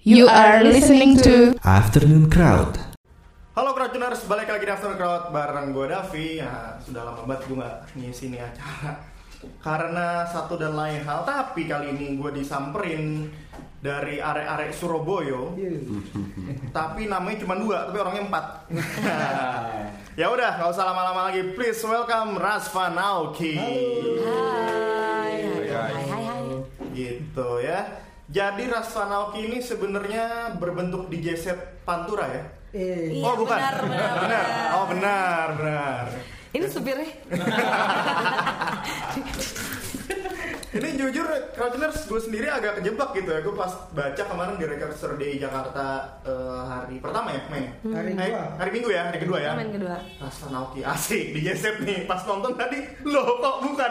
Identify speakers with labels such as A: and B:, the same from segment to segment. A: You are listening to
B: Afternoon Crowd.
C: Halo Crowdtuners, balik lagi di After Crowd bareng gue Davi ya, Sudah lama banget gue gak ngisi nih acara Karena satu dan lain hal Tapi kali ini gue disamperin dari arek-arek Surabaya Tapi namanya cuma dua, tapi orangnya empat Ya udah, gak usah lama-lama lagi Please welcome Rasfa Naoki Gitu ya Jadi Rasfa Naoki ini sebenarnya berbentuk DJ set Pantura ya?
D: Iya.
E: Eh,
C: oh bukan,
D: benar, benar,
C: Benar.
D: benar.
C: oh benar, benar.
D: Ini supirnya.
C: Ini jujur, Crowdtuners gue sendiri agak kejebak gitu ya. Gue pas baca kemarin di Record Store Day Jakarta eh, hari pertama ya main.
E: Hari
C: Eh,
E: kedua.
C: hari Minggu ya, hari kedua ya.
D: Main kedua.
C: Rasa Naoki asik di Jesep nih. Pas nonton tadi, loh kok bukan?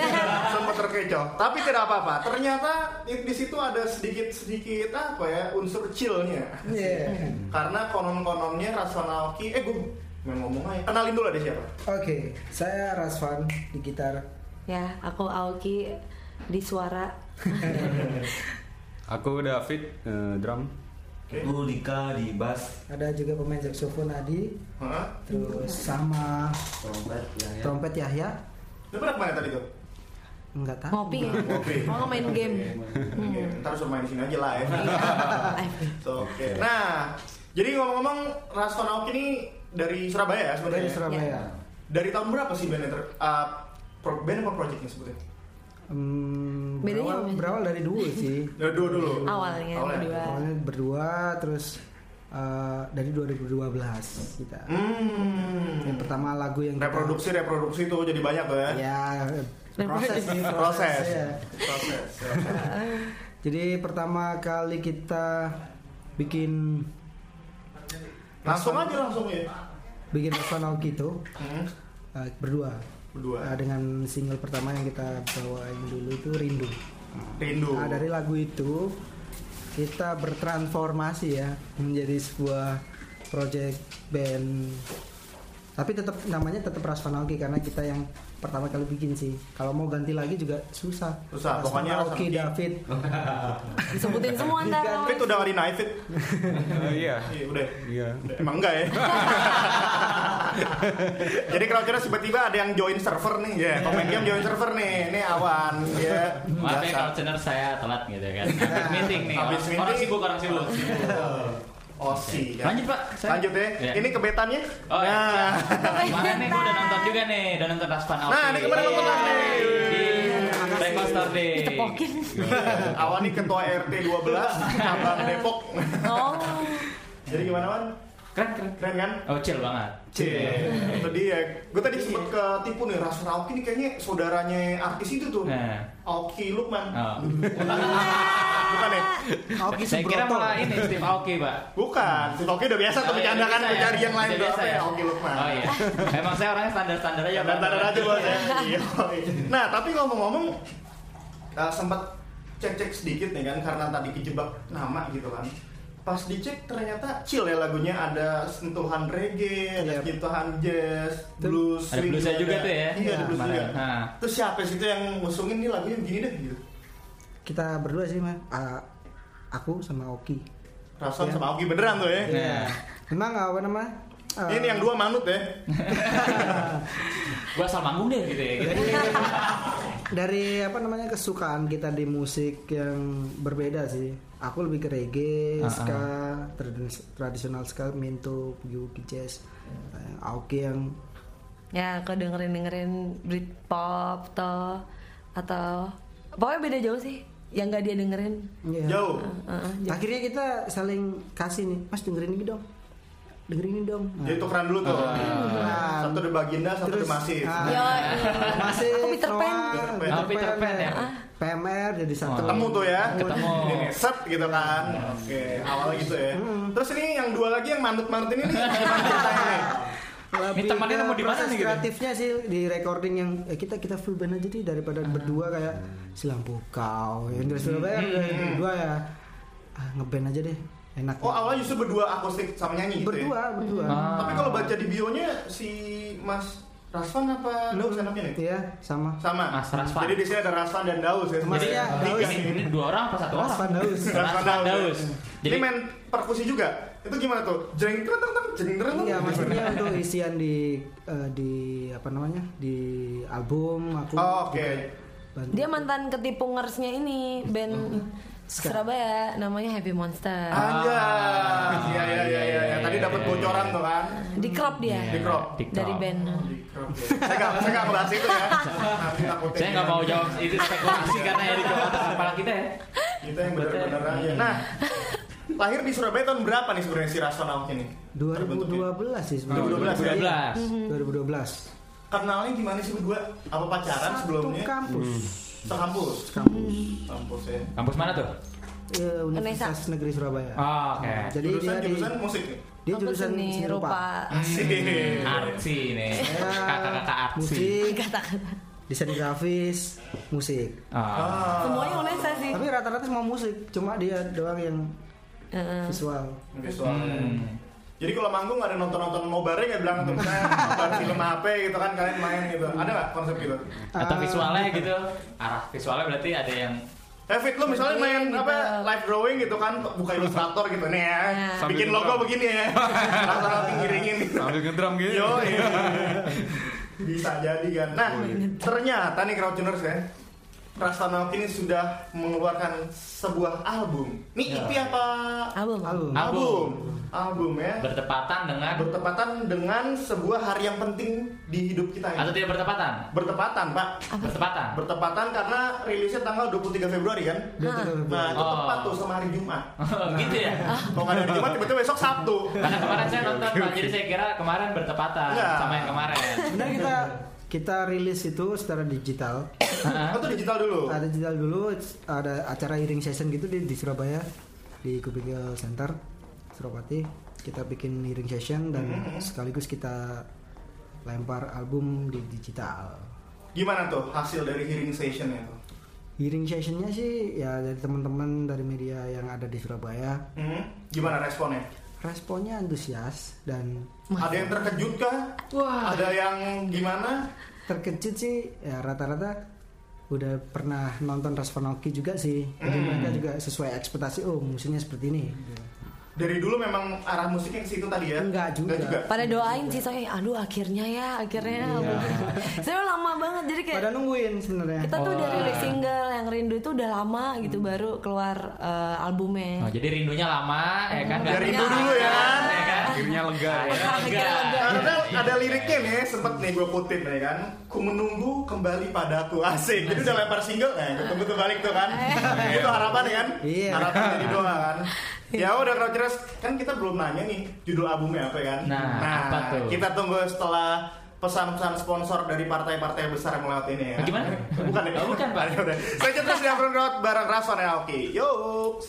C: Sempat terkecoh. Tapi tidak apa-apa. Ternyata di di situ ada sedikit-sedikit apa ya unsur chillnya.
E: yeah.
C: Karena konon-kononnya Rasa Naoki, eh gue ngomong aja. Kenalin dulu ada siapa?
E: Oke, saya Rasvan di gitar.
D: Ya, aku Aoki di suara.
F: Aku David eh, drum.
G: Lu Dika di bass,
E: Ada juga pemain saxophone Adi,
C: Hah?
E: terus sama
G: trompet, Yahya.
E: trompet Yahya.
C: Lu pernah kemana tadi tuh?
E: Enggak tahu.
D: Ngopi ya?
C: Ngopi.
D: Mau main game.
C: Oke, Gitu. Ntar suruh main di sini aja lah ya.
D: Iya. Eh,
C: So, oke. Nah, jadi ngomong-ngomong Rastonauk ini dari Surabaya ya sebenarnya.
E: Dari Surabaya.
D: Ya.
C: Dari tahun berapa sih band ter uh, pro, band apa projectnya sebetulnya?
E: Hmm,
D: Bedanya
E: berawal,
D: apa?
E: berawal dari dulu sih.
C: Dari dulu dulu.
D: Awalnya berdua.
E: Awalnya berdua, terus eh, dari 2012 kita.
C: Hmm.
E: Yang pertama lagu yang kita-
C: Reproduksi reproduksi itu jadi banyak tuh ya.
E: Ya, proses sih,
C: Proses.
E: ya.
C: Proses.
E: Jadi pertama kali kita bikin
C: Langsung aja langsung ya.
E: bikin personal gitu
C: Hmm.
E: eh, berdua.
C: Berdua.
E: Nah, dengan single pertama yang kita bawain dulu itu Rindu.
C: Rindu.
E: Nah, dari lagu itu kita bertransformasi ya menjadi sebuah project band tapi tetap namanya tetap Rasvanoki karena kita yang pertama kali bikin sih. Kalau mau ganti lagi juga susah.
C: Susah, pokoknya
E: Rasvanoki
C: Rasvanoki.
E: David.
D: Disebutin semua ntar.
C: Fit udah hari night fit.
F: Eh, iya.
C: Iya, udah.
F: Iya.
C: Emang enggak ya? Jadi kalau kira tiba-tiba ada yang join server nih, ya pemain game join server nih, ini awan ya.
H: Maaf ya
C: Biasa.
H: kalau channel saya telat gitu kan. Habis meeting nih.
C: Habis
H: orang, orang
C: meeting.
H: sibuk, orang sibuk. sibuk.
C: Osi. Ya.
H: Lanjut Pak. Saya-
C: Lanjut ya.
H: Iya.
C: Ini kebetannya.
H: Oh, iya.
C: nah,
H: Kemarin nih gue udah nonton juga nih, udah nonton Raspan Aoki.
C: Nah, ini kemarin nonton lah nih.
H: Di Record Store Day.
D: Ditepokin.
C: Iya. awan nih ketua RT 12 cabang Depok.
D: Oh.
C: Jadi gimana Wan?
H: Keren, keren.
C: Keren kan?
H: Oh, chill banget.
C: Cie, itu dia. Gue tadi sempet ketipu nih, Ras Rauki nih kayaknya saudaranya artis itu tuh.
H: Nah.
C: Aoki Lukman.
H: Oh.
C: Bukan ya?
E: Aoki
H: Saya kira
E: Subroto.
H: malah ini Steve Aoki, Pak.
C: Bukan, si Toki udah biasa tuh
H: Oh, iya,
C: bercanda kan
H: biasa ya.
C: mencari yang lain
H: Udah
C: tuh
H: biasa
C: apa ya
H: ya.
C: Oki Lukman. Iya,
H: Oh iya. Emang saya orangnya standar-standar aja. Pak.
C: Standar aja buat saya. Iya. Nah, tapi ngomong-ngomong eh, sempat cek-cek sedikit nih kan karena tadi kejebak nama gitu kan. Pas dicek ternyata chill ya lagunya ada sentuhan reggae, ada
E: Iya.
C: sentuhan jazz, blues,
H: Ada
C: swing
H: bluesnya juga tuh ya.
C: Iya, ada blues
H: Kemarin.
C: juga.
H: Nah.
C: Terus siapa sih tuh yang ngusungin nih lagunya begini deh gitu.
E: Kita berdua sih, Mas. Ah, aku sama Oki.
C: Rason sama Oki beneran tuh ya.
H: Nah,
E: Emang apa nama? Eh,
C: Ini yang dua manut ya.
H: gue asal manggung deh gitu ya. Gitu.
E: dari apa namanya kesukaan kita di musik yang berbeda sih aku lebih ke reggae
H: Ah,
E: ska trad- tradisional ska minto boogie jazz Eh, Aoki yang
D: Ya, aku dengerin dengerin Britpop toh atau pokoknya beda jauh sih yang gak dia dengerin.
E: ya.
C: Jauh.
D: Heeh, jauh.
E: akhirnya kita saling kasih nih mas dengerin ini dong dengerin ini dong Nah,
C: Jadi tukeran dulu tuh. Nah,
E: Ah.
C: satu di Baginda, satu di
E: terus-
C: Masif. Nah,
E: ah,
D: Yoi.
E: masih
D: Aku Peter Pan.
C: Peter
H: Pan. Oh, Peter Pan ya.
E: PMR jadi satu
C: Ketemu tuh ya.
H: Ketemu.
C: Ini nih, set gitu kan. Oke, awal gitu ya. Terus ini yang dua lagi yang manut-manut ini nih. gimana ceritanya nih?
E: Lebih
H: Ini temannya
E: ke
H: nemu di mana
E: proses
H: nih gitu?
E: kreatifnya sih di recording yang eh, kita kita full band aja deh daripada
H: Ah.
E: berdua kayak silampu kau yang
H: Hmm.
E: dari Surabaya udah berdua ya ah, ngeband aja deh enak
C: Oh, awalnya justru berdua akustik sama nyanyi gitu ya?
E: berdua berdua
H: Ah.
C: Tapi kalau baca di bio-nya si Mas Rasvan apa Daus anaknya nih?
E: Iya, sama.
C: Sama.
H: Mas Rasvan.
C: Jadi di sini ada Rasvan dan Daus ya.
E: Mas,
H: Jadi
E: Iya,
H: ini,
E: Daus.
H: ini- ini dua orang apa satu orang?
E: Rasvan Daus.
C: Rasvan
H: Rasvan Daus.
C: Jadi
H: Jadi
C: ini main perkusi juga. Itu gimana tuh? Jeng teng teng teng jeng teng.
E: Iya, maksudnya untuk isian di eh, di apa namanya? Di album aku.
C: Oh, oke.
E: bantu.
D: Dia mantan ketipungersnya ini band Surabaya namanya Happy Monster.
C: Ada. Iya iya iya iya. iya. Tadi dapat bocoran tuh kan.
D: Di crop dia.
C: Di crop.
D: Dari band.
C: Saya nggak saya nggak bahas itu ya. Nanti ya. takutnya
H: saya nggak mau jawab itu spekulasi karena ya di atas kepala kita ya.
C: Kita yang benar-benar aja. Nah, lahir di Surabaya tahun berapa nih sebenarnya si Rasvan Awak ini? Terbentuknya?
E: 2012 sih sebenarnya.
C: 2012.
H: 2012.
E: 2012.
C: Kenalnya gimana sih berdua? Apa pacaran
E: Satu
C: sebelumnya?
E: kampus.
H: Hmm.
C: Sekampus.
E: Kampus.
C: Kampus ya.
H: Kampus mana tuh?
E: Eh, Universitas Negeri Surabaya.
H: Oh, oke.
E: Jadi
C: jurusan
E: dia di-
C: jurusan musik nih.
E: dia
D: Aku
E: jurusan
D: seni
E: seni rupa.
H: Hmm.
C: Asik.
H: Artsy nih.
E: Saya
H: Kakak-kakak artsy.
E: musik, desain grafis, musik.
H: Ah.
C: Ah.
D: Oh. Semuanya Unesa sih.
E: Tapi rata-rata semua musik, cuma dia doang yang
D: Heeh.
E: visual.
C: Visualnya.
H: Hmm.
C: Jadi kalau manggung ada nonton-nonton nobarnya nggak bilang tuh misalnya nonton film HP gitu kan kalian main gitu. Ada nggak konsep gitu?
H: Atau
E: Ah.
H: visualnya gitu. Arah visualnya berarti ada yang
C: David Eh, lu misalnya main apa live drawing gitu kan buka ilustrator gitu nih ya.
F: Sambil
C: Bikin logo
F: ngedrum.
C: begini ya. Rata-rata pinggiringin gitu.
F: Sambil ngedrum gitu.
C: Yo. iya. Bisa jadi kan. Nah, ternyata nih Crowdtuners ya. Rasanaut ini sudah mengeluarkan sebuah album. Ini EP apa?
D: Album.
E: Album.
C: Album. Album ya.
H: bertepatan dengan
C: bertepatan dengan sebuah hari yang penting di hidup kita
H: atau
C: ini.
H: tidak bertepatan?
C: Bertepatan, Pak.
H: Bertepatan.
C: Bertepatan karena rilisnya tanggal 23 Februari kan?
D: Ah.
E: Dia tuh kan-
C: Nah, itu
H: Oh.
C: tepat tuh sama hari Jumat.
H: gitu ya.
C: Kalau nggak ada hari Jumat, tiba-tiba besok Sabtu.
H: Karena kemarin saya nonton, Pak. jadi saya kira kemarin bertepatan
C: Enggak.
H: sama yang kemarin.
E: Sebenarnya kita kita rilis itu secara digital.
C: Atau digital dulu.
E: Ada digital dulu, ada acara hearing session gitu di, di Surabaya di Cubicle Center Surabati. Kita bikin hearing session dan sekaligus kita lempar album di digital.
C: Gimana tuh hasil dari hearing sessionnya tuh?
E: Hearing sessionnya sih ya dari teman-teman dari media yang ada di Surabaya
C: Hmm? Gimana responnya?
E: responnya antusias dan
C: Ada yang terkejut kah?
D: Wah.
C: Ada yang gimana?
E: terkejut sih ya rata-rata udah pernah nonton respon Oki juga sih jadi mereka juga sesuai ekspektasi oh musiknya seperti ini gitu.
C: Dari dulu memang arah musiknya ke situ tadi ya?
E: Enggak juga.
D: Pada doain sih saya, aduh akhirnya ya, akhirnya. saya lama banget jadi kayak
E: pada nungguin sebenarnya
D: kita tuh udah rilis single yang rindu itu udah lama gitu baru keluar eh, albumnya.
H: Oh, jadi rindunya lama, ya kan?
C: Dari rindu dulu ya.
H: Ya kan?
F: Akhirnya lega ya.
H: Enggak.
C: Karena ada liriknya nih, sempet nih gue kutip nih kan Ku menunggu kembali padaku, asik Jadi udah lempar single kan, tunggu terbalik tuh kan Itu harapan ya kan,
E: Iya.
C: harapan jadi doa kan Ya udah kalau ceras, kan kita belum nanya nih judul albumnya apa ya kan
H: Nah, apa tuh?
C: kita tunggu setelah pesan-pesan sponsor dari partai-partai besar yang melewat ini ya
H: Eh, Gimana?
C: Bukan ya?
H: Oh, bukan, Pak.
C: Udah, udah. Saya cetas di Afro Crowd bareng Rason ya, oke Yuk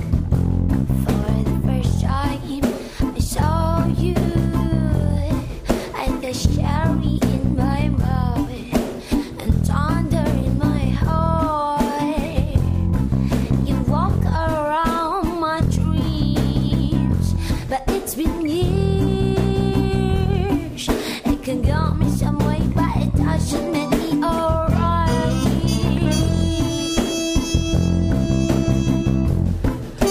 B: For the first time, I saw you. I got sherry in my mouth and thunder in my heart. You walk around my dreams, but it's been years. It can go me some way, but it doesn't make me alright. Ooh.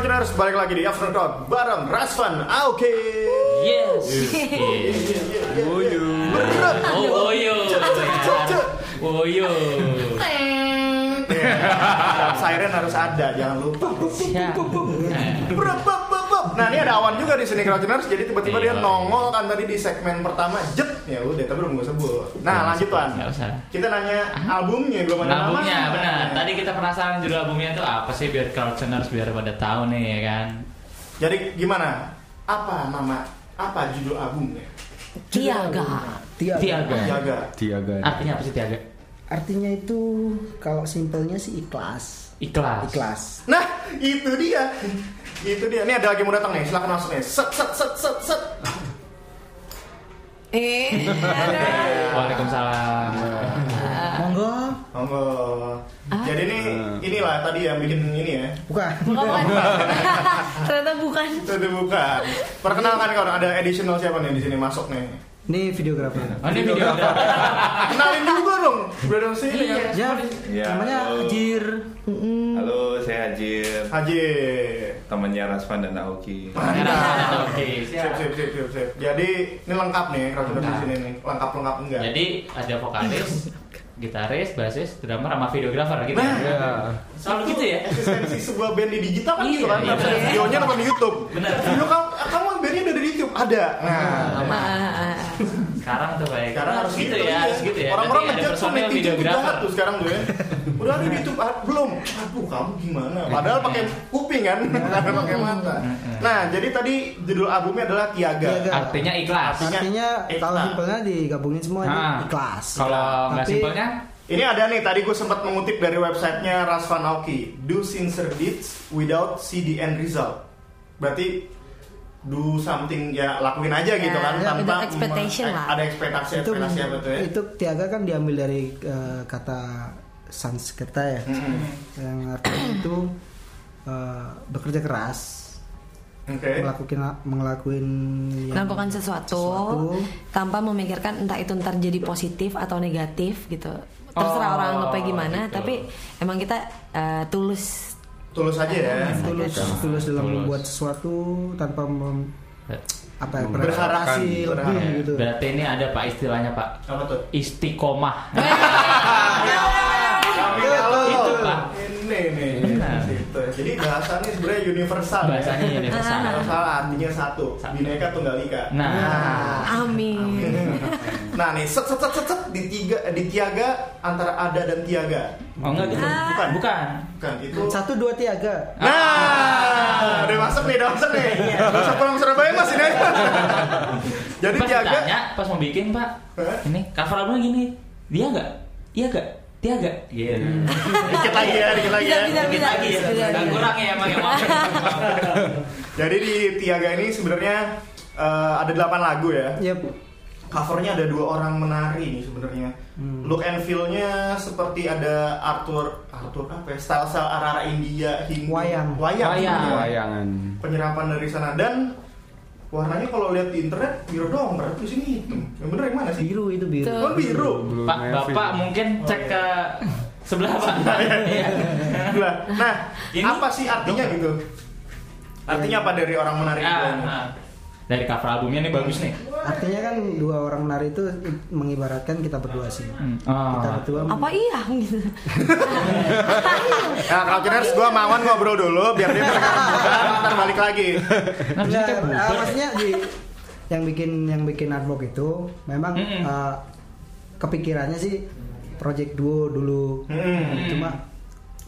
C: Runners balik lagi di After Crowd bareng Rasvan Aoki.
H: Yes.
F: Boyu.
C: Bergerak.
H: Oh, oh yo. Oh yo.
C: Ya, Siren harus ada, jangan lupa.
H: Eh,
C: Brep, brep, brep, brep. Nah ini ada awan juga di sini Crowdtuners, jadi tiba-tiba dia
H: Iya.
C: nongol kan tadi di segmen pertama, jet ya udah, tapi belum gue sebut. Nah lanjut Wan,
H: Iya, Nggak usah.
C: kita nanya albumnya belum ada
H: Albumnya
C: namanya.
H: benar. Tadi kita penasaran judul albumnya tuh apa sih biar culture biar pada tahu nih ya kan.
C: Jadi gimana? Apa nama? Apa judul albumnya?
D: Tiaga.
H: Iya.
E: Tiaga.
H: Tiaga.
C: Jaga.
F: Tiaga.
H: Artinya apa sih Tiaga?
E: Artinya itu kalau simpelnya sih ikhlas.
H: Ikhlas.
E: Ikhlas.
C: Nah itu dia, itu dia. Ini ada lagi mau datang nih, silakan langsung nih. Set set set set set.
D: Eh,
H: Waalaikumsalam.
E: Monggo.
C: Monggo. Jadi ini inilah tadi yang bikin ini ya.
D: bukan.
E: Bukan.
D: bukan. Ternyata bukan.
C: Itu bukan. Perkenalkan kalau ada additional siapa nih di sini masuk nih.
E: Ini videografer.
H: Oh, ini video
C: Kenalin juga dong. Brother sini kan.
E: Ya,
G: Iya,
E: namanya
G: halo.
E: Jir.
G: Halo, saya Hajir,
C: Haji.
G: temannya Rasvan dan Aoki.
C: Mantap.
H: Oke.
C: Sip, sip, sip, sip, sip. Jadi ini lengkap nih Rasul di sini nih. Lengkap lengkap enggak?
H: Jadi ada vokalis, gitaris, bassist, drummer sama videografer gitu.
C: Nah.
H: ya.
F: Iya.
H: Selalu gitu ya.
C: eksistensi sebuah band di digital kan gitu
H: Iya,
C: kan
H: iya.
C: videonya nonton di YouTube
H: Bener.
C: video kamu kamu bandnya udah di YouTube ada nah
H: Sama.
D: Ah,
H: Sekarang tuh baik.
C: sekarang harus gitu,
H: ya,
C: iya.
H: harus gitu ya.
C: Orang-orang
H: Nanti ada
C: ngejar tuh
H: personel
C: netizen tuh
H: videografer.
C: jahat tuh sekarang tuh ya. Udah ada di YouTube ah, belum? Aduh kamu gimana? Padahal pakai kuping kan, padahal pakai mata. Nah jadi tadi judul albumnya adalah Tiaga.
E: Tiaga.
H: Artinya ikhlas.
E: Artinya
C: Ikhlas.
E: kalau simpelnya digabungin semua ini
H: Nah,
E: ikhlas.
H: Kalau nggak
E: Tapi-
H: simpelnya,
C: Ini ada nih tadi gue sempat mengutip dari websitenya Rasvan Aoki. Do sincere deeds without see the end result. Berarti do something ya lakuin aja gitu
D: Ya,
C: kan
D: ya,
C: tanpa
D: without expectation
C: me-
D: lah.
C: ada ekspektasi
E: itu
C: ekspektasi apa tuh ya.
E: itu tiaga kan diambil dari eh, kata Sanskerta ya
C: Mm-mm.
E: yang artinya itu eh, bekerja keras
C: Oke.
E: melakukan melakukan yang-
D: melakukan sesuatu,
E: Iya. sesuatu.
D: tanpa memikirkan entah itu ntar jadi positif atau negatif gitu terserah
H: Oh,
D: orang anggapnya gimana
H: gitu.
D: tapi emang kita eh, tulus
C: Tulus aja ya.
E: tulus tulus dalam
H: Tulus.
E: membuat sesuatu tanpa mem- apa ya,
C: Berharap
E: berekspektasi
C: kan,
E: lebih
H: Iya.
C: berharap.
E: gitu
H: berarti ini ada pak istilahnya pak
C: Apa tuh?
H: istiqomah. Eh,
C: Tapi
E: Itu,
C: kalau
H: itu, Pak.
C: Ini nih. Gitu. Jadi bahasanya sebenarnya universal. ya.
H: Bahasanya universal.
C: Universal artinya satu.
H: Satu.
C: Bineka tunggal ika.
H: Nah.
D: amin
C: Nah nih set set set set, set, di tiga eh, di tiaga antara ada dan tiaga.
H: Oh enggak gitu.
C: Ah. Bukan.
H: Bukan.
C: Bukan itu.
E: satu dua tiaga
C: Nah, udah masuk nih, udah masuk nih.
D: Iya.
C: Bisa pulang Surabaya mas ini. Jadi
H: pas
C: tiaga.
H: ditanya, pas mau bikin pak,
C: Hah?
H: ini cover albumnya gini, dia nggak, iya nggak, dia nggak, gitu.
C: Hmm. Dikit lagi ya, dikit lagi
D: bisa
C: ya.
D: bisa bisa bisa, bisa,
H: Dan
D: bisa.
H: kurang ya emang ya maaf.
C: Jadi di tiaga ini sebenarnya eh, ada delapan lagu ya.
E: Yep.
C: Covernya ada dua orang menari nih sebenarnya.
E: Hmm.
C: Look and feel-nya seperti ada Arthur Arthur apa ya? Style-style arah India, Hindu.
E: Wayang.
C: Wayang.
H: Wayang.
C: Iya.
F: Wayangan.
C: penyerapan dari sana dan warnanya kalau lihat di internet biru dong berarti sini hitam yang bener yang mana sih
E: biru itu biru
D: Tuh.
C: oh biru
F: Blue
H: Pak,
F: Navy.
H: bapak mungkin
C: Oh, iya.
H: cek ke sebelah pak. Iya.
C: Lah, nah
H: Ini-
C: apa sih artinya gitu artinya apa dari orang menarik itu
H: Ah, ah. Dari cover albumnya ini bagus nih.
E: artinya kan dua orang menari itu mengibaratkan kita berdua sih
H: Hmm.
E: kita
H: Ah.
E: berdua
D: apa iya gitu
C: nah kalau Kiners gue mawan ngobrol dulu biar dia terkabur ntar balik lagi
H: Nah, bisa
E: Enggak,
H: kayak
E: ah,
H: bubar.
E: maksudnya di- yang bikin yang bikin artwork itu memang
H: Mm-mm.
E: eh, kepikirannya sih project duo dulu.
C: Mm-mm.
E: Cuma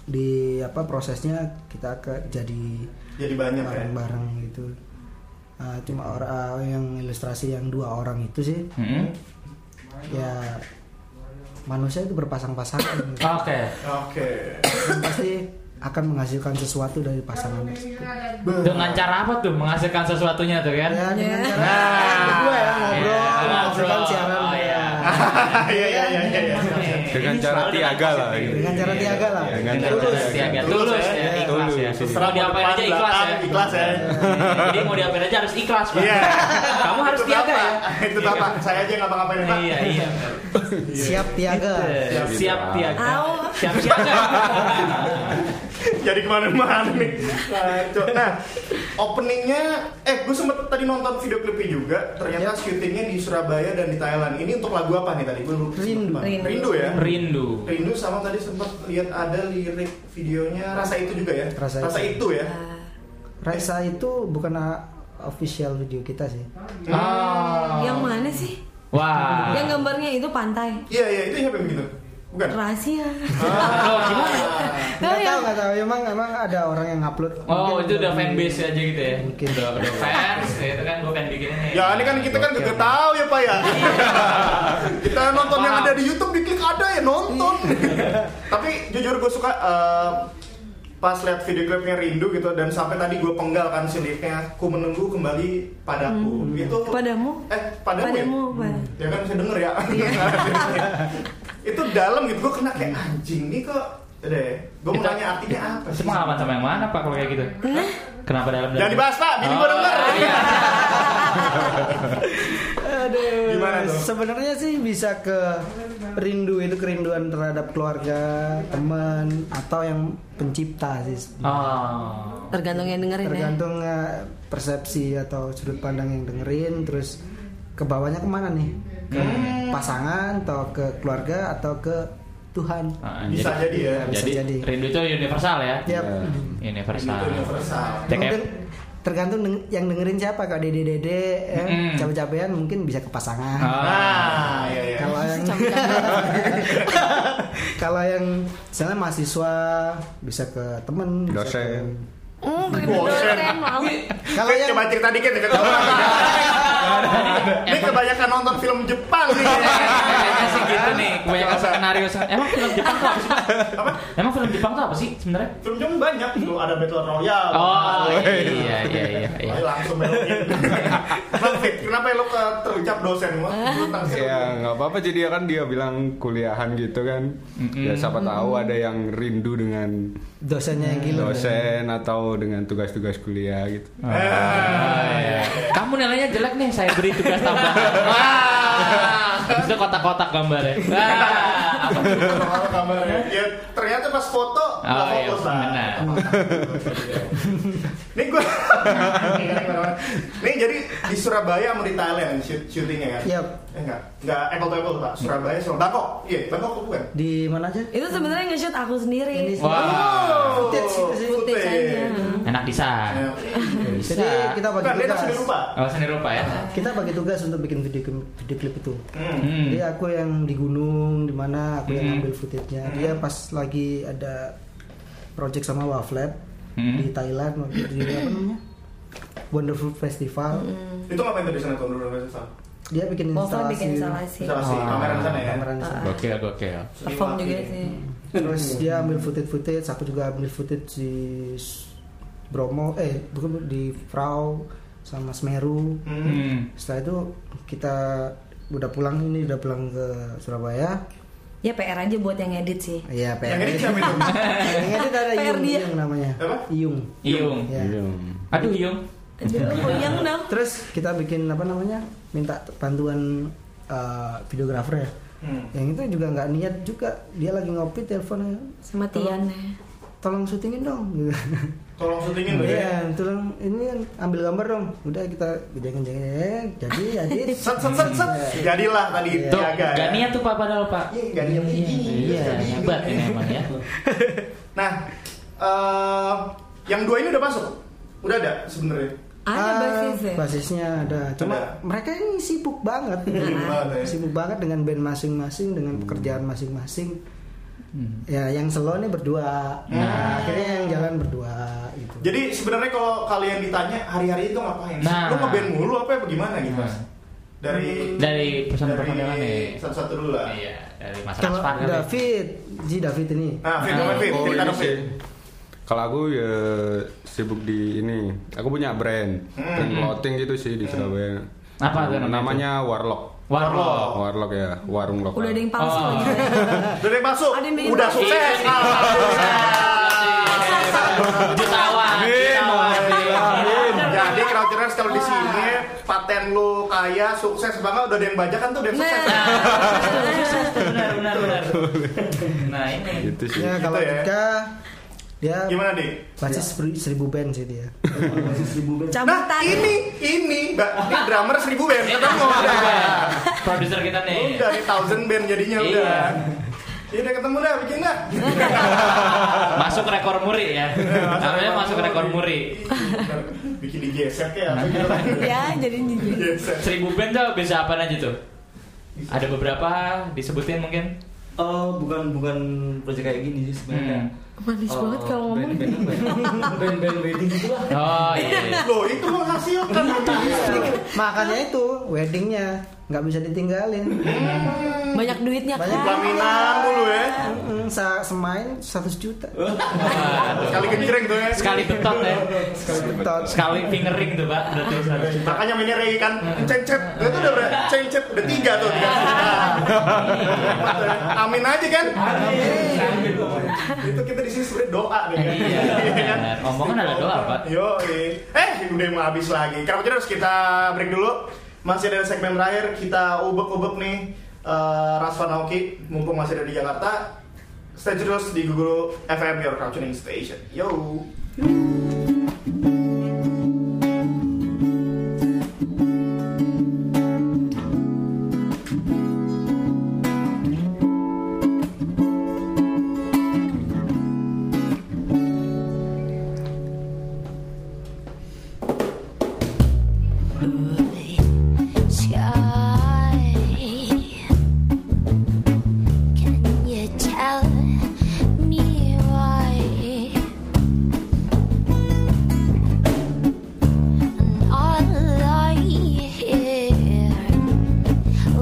E: di apa prosesnya kita ke jadi
C: jadi banyak ya
E: bareng-bareng gitu. Eh, cuma orang yang ilustrasi yang dua orang itu sih
H: Hmm.
E: ya manusia itu berpasang-pasangan gitu.
H: Oke.
C: oke
E: Dan pasti akan menghasilkan sesuatu dari pasangan tersebut.
H: Dengan cara apa tuh menghasilkan sesuatunya tuh kan?
E: Ya, dengan cara
C: Nah.
E: berdua ya ngobrol,
H: Iya,
E: menghasilkan
H: ngobrol.
E: siaran.
H: Oh, iya.
E: ya.
C: iya iya iya iya iya.
F: Dengan cara tiaga lah. gitu.
E: Dengan cara tiaga lah.
F: Dengan
H: Dengan
F: cara
H: cara
F: tiaga.
H: tiaga.
C: Tulus
H: Tulus
C: ya.
H: ya, ikhlas ya.
F: Tulus.
H: Mau diapain aja
C: depan,
H: ikhlas ya.
C: belakang, ikhlas ya.
H: Jadi mau diapain aja harus ikhlas, Pak.
C: Iya.
H: Kamu harus
C: Itu
H: tiaga
C: Bapak.
H: ya.
C: Itu bapak. Saya aja nggak ngapa-ngapain ya, Pak.
H: Iya, iya. Gitu.
E: Siap tiaga.
H: Siap
F: Siap
H: siap tiaga.
D: Au.
H: Siap siaga.
C: jadi kemana-mana nih Kacau. nah openingnya eh gue sempet tadi nonton video klipnya juga
H: Iya.
C: ternyata syutingnya di Surabaya dan di Thailand ini untuk lagu apa nih tadi gue lupa
E: Rindu.
C: rindu, ya
H: Rindu.
C: rindu sama tadi sempet lihat ada lirik videonya rasa itu juga ya
E: Rasa Itu.
C: itu,
H: Iya.
C: ya
E: Rasa itu bukan ah, official video kita sih.
C: ah
D: Yang mana sih?
H: Wah.
D: Yang gambarnya itu pantai.
C: iya iya itu siapa yang begitu bukan Ah.
D: Rahasia.
H: Oh, gimana?
E: Nggak
D: Tahu ya?
E: tahu nggak tahu. Emang emang ada orang yang upload.
H: Oh,
E: Mungkin
H: itu udah
E: dari-
H: fanbase aja gitu ya.
E: Mungkin.
H: Udah, udah fans, ya, itu kan gue pengen bikin ini.
C: ya ini kan kita kan gak tahu ya pak ya kita nonton yang
H: Paham.
C: ada di YouTube diklik ada ya nonton tapi jujur gue suka eh, pas lihat video klipnya rindu gitu dan sampai tadi gue penggal kan si liriknya aku menunggu kembali padaku itu
D: Padamu?
C: eh padamu, ya?
D: Padamu, Iya. Pak.
C: ya kan bisa denger ya itu dalam gitu gue kena kayak anjing nih kok deh gue mau
H: Itu-
C: nanya artinya apa sih
H: Semalaman sama yang mana pak kalau kayak gitu? Kenapa dalam dalam?
C: jangan dibahas pak bini gue denger
E: Aduh.
C: Gimana tuh?
E: Sebenarnya sih bisa ke rindu itu kerinduan terhadap keluarga, teman atau yang pencipta sih.
H: Oh.
D: Tergantung yang dengerin ya.
E: Tergantung eh, persepsi atau sudut pandang yang dengerin terus ke bawahnya kemana nih? Ke
H: Hmm.
E: pasangan atau ke keluarga atau ke Tuhan.
H: Ah,
C: Bisa jadi ya.
E: Bisa
H: Jadi,
E: jadi.
H: rindu itu universal ya?
E: Yap.
H: Universal.
C: Itu universal
H: Cek ya.
E: Mungkin tergantung deng- yang dengerin siapa kalau dede dede eh,
H: Mm-mm.
E: capek-capean mungkin bisa ke pasangan.
H: Hmm. Ah.
C: nah ya ya
E: Kalau yang kalau yang misalnya mahasiswa bisa ke temen, bisa
F: Dosen.
E: ke-
D: Hmm, rindu
C: Bosen.
D: dosen mau.
E: Kalau yang
C: coba cerita dikit ya Ini kebanyakan nonton film Jepang nih.
H: Iya, Kayaknya sih gitu nih, kebanyakan skenario. Emang film Jepang tuh apa sih? Pak?
C: Apa?
H: Emang film Jepang tuh apa sih sebenarnya?
C: Film Jepang banyak tuh ada Battle Royale.
H: Oh iya iya iya. iya.
C: Ayo langsung belokin. Bang Fit, kenapa ya lo ke terucap dosen lo? Tentang film.
F: Ya
H: Iya.
F: nggak apa-apa jadi ya kan dia bilang kuliahan gitu kan Ya siapa tahu ada yang rindu dengan
E: dosennya yang gila.
F: dosen atau dengan tugas-tugas kuliah gitu
C: Ah.
H: Kamu nilainya jelek nih, saya beri tugas tambahan. Wah, habis itu kotak-kotak gambarnya. Wah, apa tuh?
C: Soal kamarnya. Ya ternyata pas foto nggak
H: Oh iya,
C: fokus lah.
H: benar.
C: Nih gue, nih jadi di Surabaya sama di Thailand shoot- syutingnya kan?
E: Yap.
C: Eh, enggak, enggak apple to apple pak. Surabaya sama Bangkok, iya Bangkok apa bukan.
E: Di mana aja?
D: Itu sebenarnya nge-shoot aku sendiri.
H: Wah,
E: Footage
C: Oh,
E: itu sih.
D: Footage aja.
H: enak di sana. Bisa.
E: Jadi kita bagi
C: Bukan, Nah, dia
E: tugas.
C: tak sudah lupa.
H: Oh, seni rupa ya.
E: Kita bagi tugas untuk bikin video, video klip itu.
H: Hmm.
E: Jadi aku yang di gunung, di mana aku yang
H: Hmm.
E: ambil footage-nya. Dia pas lagi ada project sama Waflet
H: Hmm.
E: di Thailand waktu itu, di apa namanya? Wonderful Festival.
C: Itu ngapain tuh di sana tahun 2019?
E: Dia bikin
D: Waffle bikin
E: instalasi.
D: instalasi.
H: Ah,
C: Instalasi
E: Oh,
C: kamera di sana ya.
E: Gambaran di sana.
H: Hmm. Gokil, gokil.
E: Iya,
D: Perform juga sih.
E: Terus dia ambil footage footage, aku juga ambil footage di S- Bromo, eh bukan di Frau sama Semeru.
H: Hmm.
E: Setelah itu kita udah pulang ini udah pulang ke Surabaya.
D: Ya PR aja buat yang edit sih.
E: Iya,
C: Yang
E: PR.
C: ini siapa itu?
E: Yang edit ada
D: PR
E: Yung,
D: dia.
E: Yung namanya.
C: Apa?
E: Yung.
H: Iyung.
E: Ya.
H: Aduh, Iyung.
D: Aduh, goyang dong.
E: Terus kita bikin apa namanya? Minta bantuan eh, videografer ya.
C: Hmm.
E: Yang itu juga nggak niat juga. Dia lagi ngopi teleponnya.
D: Sama Tian ya.
E: Tolong syutingin dong. gitu.
C: Tolong syutingin dulu ya.
E: Iya, tulang ini kan ambil gambar dong. Udah kita jangan jangan eh, jadi jadi. Iya.
C: Set set set set. Jadilah tadi
H: Tuh,
C: jaga. ya.
H: gak Iya. niat tuh Pak padahal Pak.
C: Iya, gak niat.
H: Iya, hebat ini emang ya.
C: Nah, eh, yang dua ini udah masuk. Udah ada sebenarnya.
D: Ada ya?
E: Ah,
D: basisnya.
E: basisnya ada. Cuma
C: Ada.
E: mereka ini sibuk banget.
D: Nah.
C: Sibuk banget, ya.
E: sibuk banget dengan band masing-masing, dengan pekerjaan masing-masing.
H: Hmm.
E: Ya, yang slow nih berdua. Nah, akhirnya yang jalan berdua gitu.
C: Jadi sebenarnya kalau kalian ditanya hari-hari itu ngapain? sih?
H: Nah.
C: Lu ngeband mulu apa ya bagaimana gitu, Mas?
H: Nah.
C: Dari
H: Dari pesan-pesan yang
C: dari
H: aneh.
C: satu-satu dulu lah.
H: ya? Iya, dari Mas
E: Kalau
H: Raspan kali. ya.
E: David, Ji David ini.
C: Nah, Fit, nah, Fit,
F: Oh,
C: cerita
F: ini
C: dong, Fit.
F: sih. Kalau aku ya sibuk di ini. Aku punya brand, brand clothing gitu sih di Surabaya.
H: Apa tuh namanya
F: Namanya Warlock.
H: Warlock.
F: Warlock ya, warung lokal.
D: Udah ada yang palsu
H: Oh.
D: lagi.
C: Dari yang masuk,
D: Ada yang bikin
C: udah
D: masuk.
C: sukses.
H: Iya,
C: Alhamdulillah.
H: Jutawan, jutawan.
C: Jadi crowdtuners kalau di sini paten lu kaya sukses banget udah ada yang bajakan tuh udah yang sukses.
D: Nah.
H: Benar, benar, benar. Nah, ini.
F: gitu sih.
C: Iya,
E: Ya, kalau
C: ya.
E: Dika Dia
C: Gimana deh?
E: basis seri- seribu band sih dia.
C: Nah,
D: Camputan.
C: ini ini Mbak, ini drummer seribu band
H: Iya.
C: ketemu.
H: Produser kita nih.
C: Udah nih thousand band jadinya
H: Iya.
C: udah. Iya udah ketemu dah bikin dah.
H: Masuk rekor muri ya. Namanya masuk rekor muri.
C: Iya, Bikin di gesek ya apa gitu.
D: Ya, jadi jijik.
H: Iya.
C: Digesek.
H: Seribu band tuh bisa apa aja tuh? Ada beberapa disebutin mungkin.
I: Oh, bukan bukan proyek kayak gini sih sebenarnya.
E: Hmm.
D: Manis banget kalau ngomong.
I: Band-band apa ya? Band-band wedding gitu lah.
H: Oh iya.
C: Loh, itu kan? menghasilkan.
E: Makanya itu weddingnya nggak bisa ditinggalin.
C: Hmm.
D: Banyak duitnya
E: Banyak
D: kan.
C: Pelaminan dulu ya.
E: Mm, sa- semain 100 juta.
C: Oh,
H: Waduh.
C: Sekali kencreng tuh ya.
H: Sekali betot ya.
E: Betot.
H: Sekali fingering tuh, Pak. Berarti harus.
C: Makanya mainnya Ray kan cengcet. Nah, Itu udah berapa? Cengcet udah tiga tuh. tiga.
H: Iya.
C: Amin aja kan? Itu kita di sini sebenarnya doa nih kan.
H: Iya,
C: kan?
H: benar. Omongan adalah doa, Pak.
C: Yo, eh udah mau habis lagi. Kenapa harus kita break dulu? Masih ada segmen terakhir kita ubek-ubek nih eh, Rasfa Naoki mumpung masih ada di Jakarta. Stay tune terus di Google FM Your Crowd Tuning Station. Yo.
B: Sky, can you tell me why? And all I hear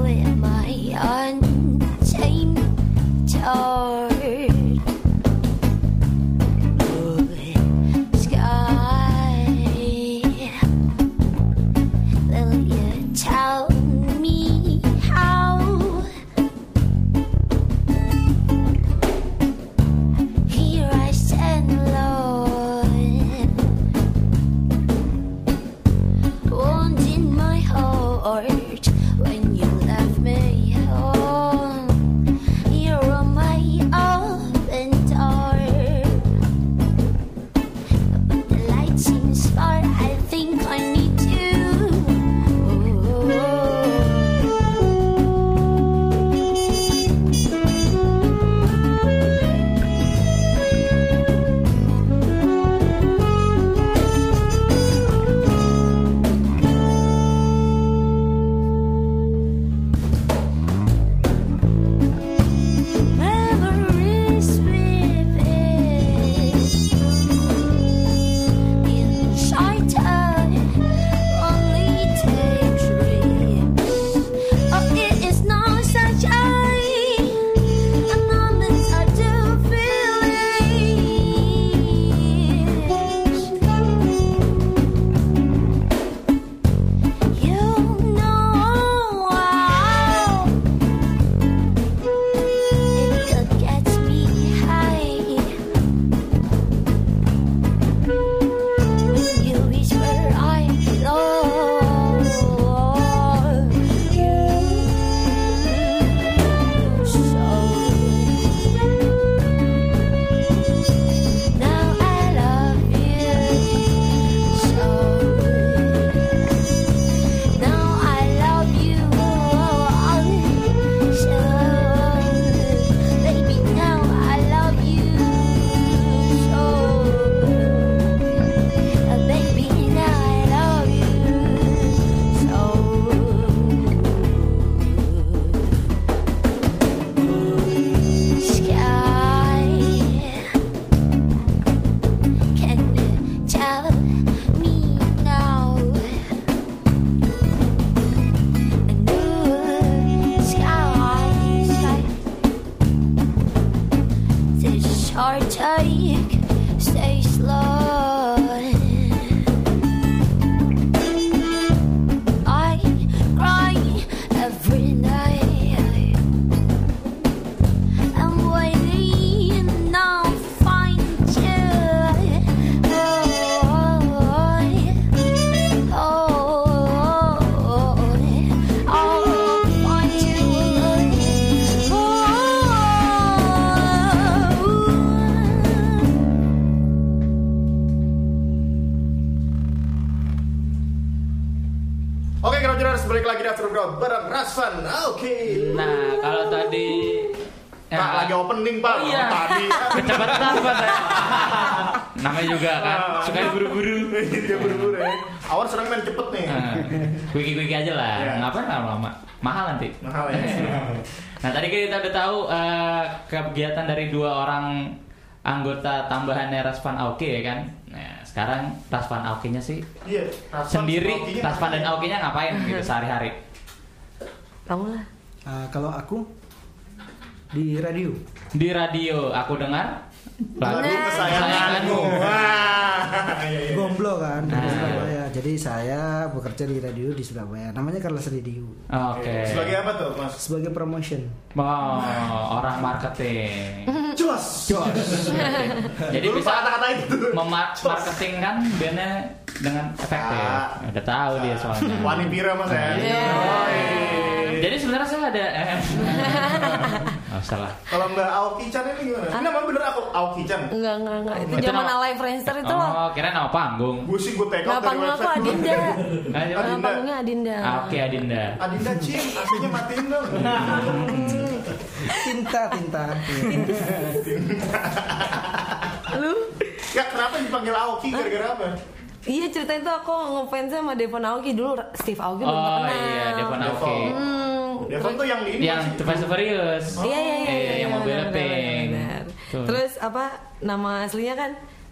B: with my untamed heart, sky. Will you tell me how here I stand, Lord, wound in my heart when you left me home? Here on my open door. The light seems far. I think I need to. Oh, Oh.
D: Eh,
C: After Crowd bareng Rasvan. Oke.
H: Nah, kalau tadi
C: Pak
H: eh,
C: lagi opening Pak.
H: Oh, iya.
C: Tadi kan.
H: kecepatan Pak, saya. Namanya juga kan
C: Ah.
H: suka buru-buru.
C: Dia buru-buru ya. Awan sering main cepet nih.
H: Eh. Wiki-wiki aja lah.
C: Iya.
H: Ngapain lama-lama? Mahal nanti.
C: Mahal ya.
H: Nah tadi kita udah tahu eh, kegiatan dari dua orang anggota tambahannya Raspan Aoki ya kan. Nah sekarang Raspan Aoki-nya sih
C: Iya. Rasvan sama
H: sendiri
C: Oki-nya
H: Raspan dan
C: namanya.
H: Aoki-nya ngapain gitu sehari-hari?
D: Kamu lah.
E: Ah, kalau aku di radio
H: Di radio aku dengar
C: Lagu
H: lagu
C: Nah, kesayanganmu.
H: kesayanganmu.
C: Wah. Iya, iya.
E: Gomblo kan dari
H: Nah.
E: Surabaya. Jadi saya bekerja di radio di Surabaya. Namanya Carlos Radio.
H: Oke.
C: Sebagai apa tuh, Mas?
E: Sebagai promotion.
H: Oh, orang marketing.
C: Jos.
H: Jadi
C: Dulu
H: bisa
C: kata-kata itu.
H: memarketing kan bandnya dengan efektif.
C: Ah.
H: Udah tahu dia soalnya.
C: Wani Pira Mas ya.
H: Iya.
C: Yoi.
H: Jadi sebenarnya saya ada. Eh. oh, salah.
C: Kalau Mbak Aoki Chan ini gimana? Ini namanya bener aku Aoki Chan.
D: Enggak, enggak, enggak. Itu
H: Itu
D: zaman
H: nama-
D: alay Friendster itu loh.
H: Oh, kira nama panggung.
C: Gue sih gue take
D: Nama
C: out dari
D: panggungnya aku
C: website.
D: Adinda.
H: Nah,
C: Adinda.
D: Nama panggungnya Adinda.
H: ah, Oke, Adinda.
C: Adinda Cin, aslinya matiin dong.
E: Tinta, tinta.
C: ya kenapa dipanggil Aoki gara-gara apa?
D: Iya cerita itu aku ngefans sama Devon Aoki dulu Steve Aoki belum
H: Oh
D: kenal.
H: iya, Devon Aoki.
D: Hmm,
C: Devon tuh yang ini
H: Yang
C: masih-
H: The Fast and Furious.
D: Iya iya iya.
H: Iya, yang mobilnya
D: benar, benar,
H: pink.
D: benar.
H: Tuh.
D: Terus apa nama aslinya kan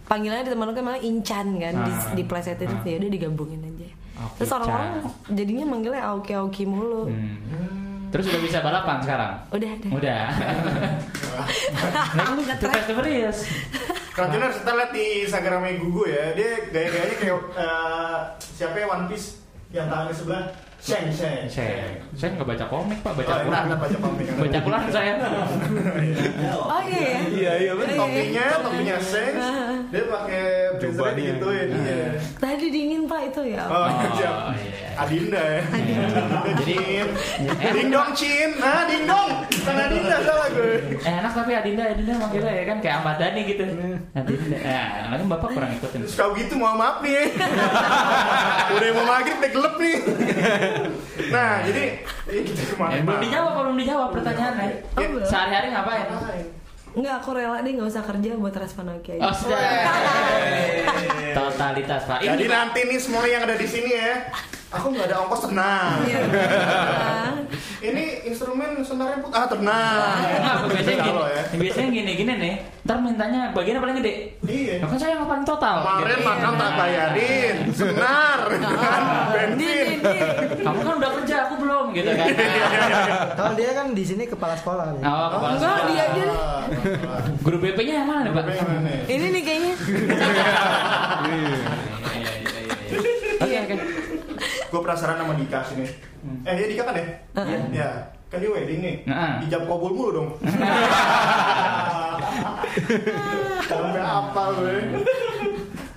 D: panggilannya di teman kan malah Incan kan di
H: Ah.
D: diplesetin
H: Ah.
D: ya udah digabungin aja.
H: Oke,
D: Terus orang-orang jadinya manggilnya Aoki Aoki mulu.
H: Hmm. Terus udah bisa balapan sekarang?
D: Udah udah.
H: Udah.
D: Aku nggak
H: The
D: try.
H: Fast and Furious.
C: Rajuner kita lihat di Instagramnya Gugu ya, dia gaya-gayanya kayak eh, siapa ya One Piece yang tangannya sebelah Sheng Sheng.
H: Saya, saya nggak baca komik pak, baca
D: iya.
C: Oh, enak,
H: Quran.
C: enak, baca komik.
H: Baca Quran saya.
D: Oh iya ya.
C: Iya iya
D: Iya,
C: bener.
D: iya.
C: Topinya, topinya Sheng. Dia pakai blazer
F: Jubahnya.
C: digituin. Iya.
D: Tadi dingin pak itu ya.
H: Ah.
C: Oh, siap.
H: iya.
C: Adinda ya.
H: Jadi
C: Eh, ding dong Cin, nah ding dong, bukan Adinda salah gue.
H: Eh, enak tapi Adinda Adinda manggilnya
C: Iya.
H: ya kan kayak Ahmad Dhani gitu. Adinda. Eh, makanya Bapak kurang ikutin. Eh,
C: Terus kalau gitu mau maaf nih. Udah mau maghrib udah gelap nih. Nah, jadi ya gitu
H: Eh,
C: kemarin.
H: belum
C: Pak.
H: dijawab, belum dijawab pertanyaannya.
C: Oh, belum.
H: Sehari-hari ngapain?
C: Iya.
D: Enggak aku rela deh nggak usah kerja buat respon Aoki aja.
H: Oh, sudah. Totalitas, Pak.
C: Iya. Jadi
H: Ini
C: nanti nih semua yang ada di sini ya. Aku nggak ada ongkos tenang.
D: Iya. Ah.
C: Ini instrumen senarnya put ah tenang.
H: Kenapa? biasanya
C: Kalau ya.
H: gini, biasanya gini-gini nih. Ntar mintanya bagian apa yang gede?
C: Iya.
H: Ya kan saya yang paling total.
C: Kemarin
H: Gitu.
C: makan tak
H: Nah.
C: bayarin, senar, kan, bensin. Iya,
D: Dingin dingin.
H: Iya. Kamu kan udah kerja, aku belum gitu kan.
E: Kalau dia kan di sini kepala sekolah kan.
H: Oh, kepala
D: Enggak
H: sekolah.
D: dia aja. deh.
C: Ah, ah,
H: Guru BP-nya yang mana nih, Pak?
C: pengen nih.
D: Ini nih kayaknya.
H: Iya, iya, iya, iya. Oke, oke.
C: Gue penasaran sama Dika sini.
E: Hmm.
C: Eh, ya Dika kan ya? Iya. Ya. Kan dia wedding nih.
H: Heeh.
C: Ijab kabul mulu dong. Sampai apa gue?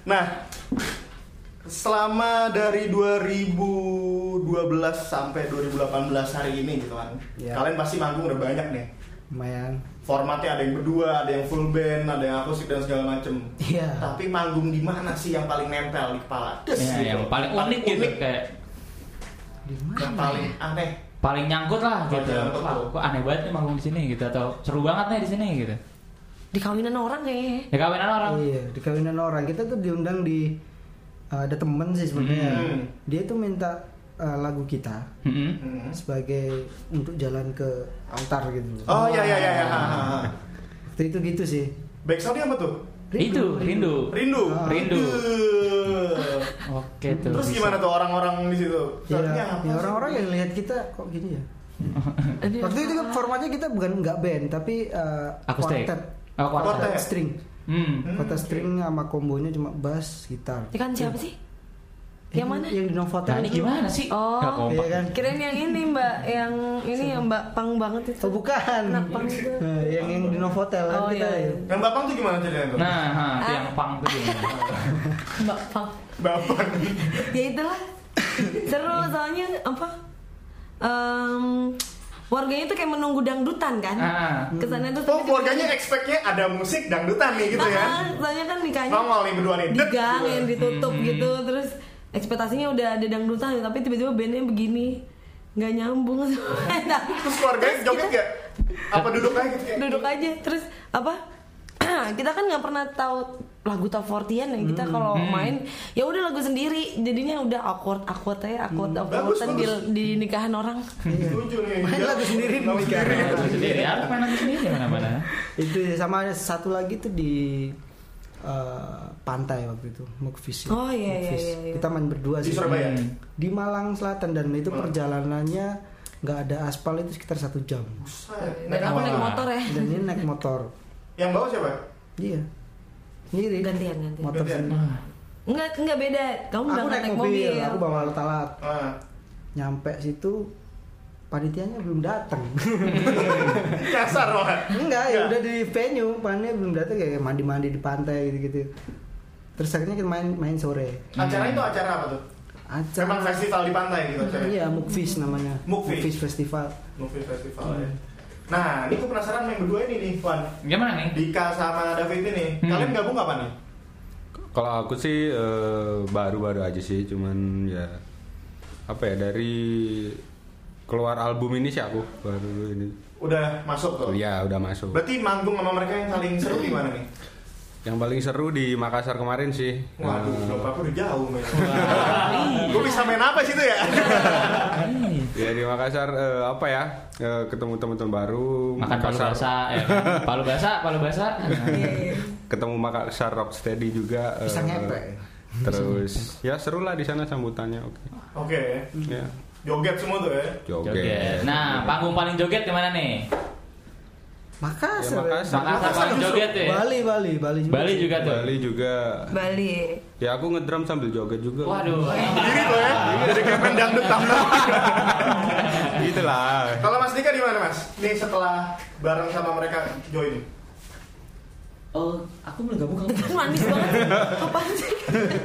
C: Nah, selama dari 2012 sampai 2018 hari ini gitu kan.
E: Iya.
C: Kalian pasti manggung udah banyak nih.
E: Lumayan.
C: Formatnya ada yang berdua, ada yang full band, ada yang akustik dan segala macem.
E: Iya.
C: Tapi manggung di mana sih yang paling nempel di kepala? Des,
H: Ya,
C: gitu.
H: yang paling unik gitu kayak
E: Di mana? ya?
C: yang paling aneh.
H: paling nyangkut lah gitu.
C: Paling nyangkut.
H: Wah, kok aneh banget nih manggung di sini gitu atau seru banget nih di sini gitu.
D: Di kawinan orang kayaknya.
H: Ya kawinan orang.
E: Iya, di kawinan orang. Kita tuh diundang di eh, ada temen sih sebenarnya.
C: Hmm.
E: Dia tuh minta eh, lagu kita
H: Mm-mm.
C: Hmm.
E: sebagai untuk jalan ke altar gitu.
C: Oh iya iya iya. Ya.
E: Oh. Waktu itu gitu sih.
C: Backsoundnya apa tuh?
H: Itu rindu.
C: Rindu.
E: Ah.
H: Rindu.
C: Duh.
H: Oke tuh.
C: Terus
H: bisa.
C: gimana tuh orang-orang di situ?
E: Iya,
C: Saatnya apa
E: ya
C: sih? Iya.
E: orang-orang yang lihat kita kok gini ya.
D: Ini
E: Waktu itu kan formatnya kita bukan nggak band tapi eh,
H: Akustik.
E: quartet,
H: Oh,
C: Quartet.
H: kuartet.
E: quartet string.
H: Hmm.
C: Hmm,
E: Quartet
C: oke.
E: string sama kombonya cuma bass, gitar.
D: Ikan kan siapa sih? Yang mana?
E: Yang di Novotel.
H: Nah, ini
E: itu.
H: gimana sih?
D: Oh.
H: Nggak kompak.
E: Iya kan?
D: Kirain yang ini mbak, yang ini yang mbak pang banget itu.
E: Oh bukan.
D: Anak pang itu.
E: Eh, yang yang di Novotel kan
D: Oh, iya.
E: kita. ya.
C: Yang Bapang tuh gimana ceritanya tuh?
H: Nah, ha, itu
D: Ah.
H: yang pang tuh gimana?
D: Mbak pang.
C: Bapang.
D: Ya itulah. Seru soalnya apa? Em, warganya itu kayak menunggu dangdutan kan?
H: Ah.
D: Kesannya tuh.
C: Oh keluarganya expect-nya ada musik dangdutan nih gitu ya.
D: Ah, soalnya kan
E: Nah.
D: nikahnya
C: Nongol nih berdua nih.
D: di
C: Det,
D: gang
C: gitu.
D: yang ditutup gitu, terus ekspektasinya udah ada dangdutan, tapi tiba-tiba bandnya begini. nggak nyambung sama enak.
C: Terus keluarganya joget nggak? Apa duduk aja gitu? kayak?
D: duduk aja terus apa kita kan nggak pernah tahu lagu top 40-an ya kita
E: Hmm.
D: kalau main ya udah lagu sendiri jadinya udah awkward awkward aja awkward
E: Hmm.
D: awkward
C: Bagus,
D: di,
C: bagus.
D: di nikahan orang
C: Setuju nih.
E: Iya. Main
C: Nggak-
E: lagu sendiri
C: nggak
E: di
C: sendiri.
E: kamar.
H: Lagu sendiri ya. harus main lagu sendiri mana mana
E: itu ya, sama satu lagi tuh di eh, pantai waktu itu Mukfis. ya.
D: Oh, iya, iya,
E: Mukfis.
D: iya, iya.
E: Kita main berdua
C: Di
E: sih.
C: Surabaya? Oh.
E: Di Malang Selatan dan itu
C: Malang.
E: perjalanannya nggak ada aspal itu sekitar satu jam.
C: Buset,
D: dan
C: naik
D: aku
C: apa?
D: naik motor ya
E: Dan ini naik motor.
C: Yang bawa siapa?
E: Iya. Sendiri.
D: gantian gantian
E: Motor
C: Gantian.
E: sendiri.
D: nggak nggak beda kamu udah
E: Aku naik mobil, aku bawa alat-alat.
C: Ah,
E: Nyampe situ panitianya belum datang.
C: Kasar banget.
E: Enggak, ya udah di venue, panitianya belum datang kayak mandi-mandi di pantai gitu-gitu. Terus akhirnya kita main main sore.
C: Acara itu acara apa tuh? Memang
E: Acara
C: festival di pantai gitu acaranya?
E: Iya, Mukfis namanya.
C: Mukfis.
E: Festival.
C: Movie festival ya. Nah, ini aku penasaran yang berdua ini nih, Wan.
H: gimana nih
C: Dika sama David ini,
H: Hmm.
C: kalian gabung kapan nih?
F: Kalau aku sih eh, baru-baru aja sih, cuman ya apa ya dari keluar album ini sih aku baru ini.
C: Udah masuk tuh.
F: Ya udah masuk.
C: Berarti manggung sama mereka yang paling seru di mana nih?
F: Yang paling seru di Makassar kemarin sih.
C: Waduh,
F: Eh,
C: dompet aku udah jauh men. Gue bisa main apa sih itu ya?
F: Ya di Makassar eh, apa ya? Eh, ketemu teman-teman baru.
H: makan palu
F: Makassar-
H: basah ya kan? palu basah palu basah
F: Ketemu Makassar Rocksteady juga. eh,
E: Bisa ngepek.
F: Terus ya seru lah di sana sambutannya. Oke.
C: Oke,
F: Ya.
C: joget semua tuh ya.
F: Joget.
H: joget nah panggung paling joget di mana nih
F: Ya,
E: Makassar.
F: Makassar.
H: Makassar paling joget ya
E: Bali, Bali, Bali. juga.
H: Bali juga tuh
F: Bali juga.
D: Bali
F: Ya aku ngedrum sambil joget juga.
H: waduh
C: Diri tuh ya, dari Kemen Dangdut Tambah.
F: gitu lah.
C: Kalau Mas Dika di mana Mas? Nih setelah bareng sama mereka join.
I: Oh, aku belum gabung kamu.
D: Kan manis banget apa sih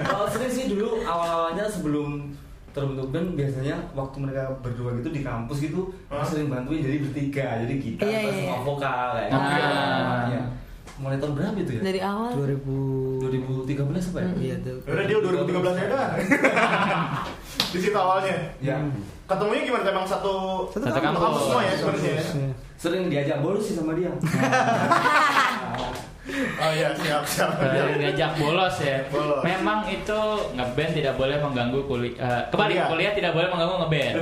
I: Kalau sering sih dulu awal-awalnya sebelum terbentuk band biasanya waktu mereka berdua gitu di kampus gitu
C: Hah?
I: sering bantuin jadi bertiga jadi gitar
D: Iya,
I: terus
D: iya,
I: sama
D: iya.
I: vokal kayak
H: Ah.
I: gitu. Iya. mulai tahun berapa itu ya
D: dari awal
E: 2000
I: 2013 apa ya
D: Hmm.
E: Iya tuh.
C: Udah dia 2013 ya dah. di situ awalnya.
I: ya
D: Hmm.
C: Ketemunya gimana? Emang satu
H: Satu kampus.
C: kampus semua ya sebenarnya. ya?
E: Iya.
I: sering diajak bolos sih sama dia
C: Oh iya siap siap.
H: Baru ngajak bolos ya.
C: Bolos.
H: Memang itu ngeband tidak boleh mengganggu kuliah. kembali
C: Kuliah.
H: kuliah tidak boleh mengganggu ngeband.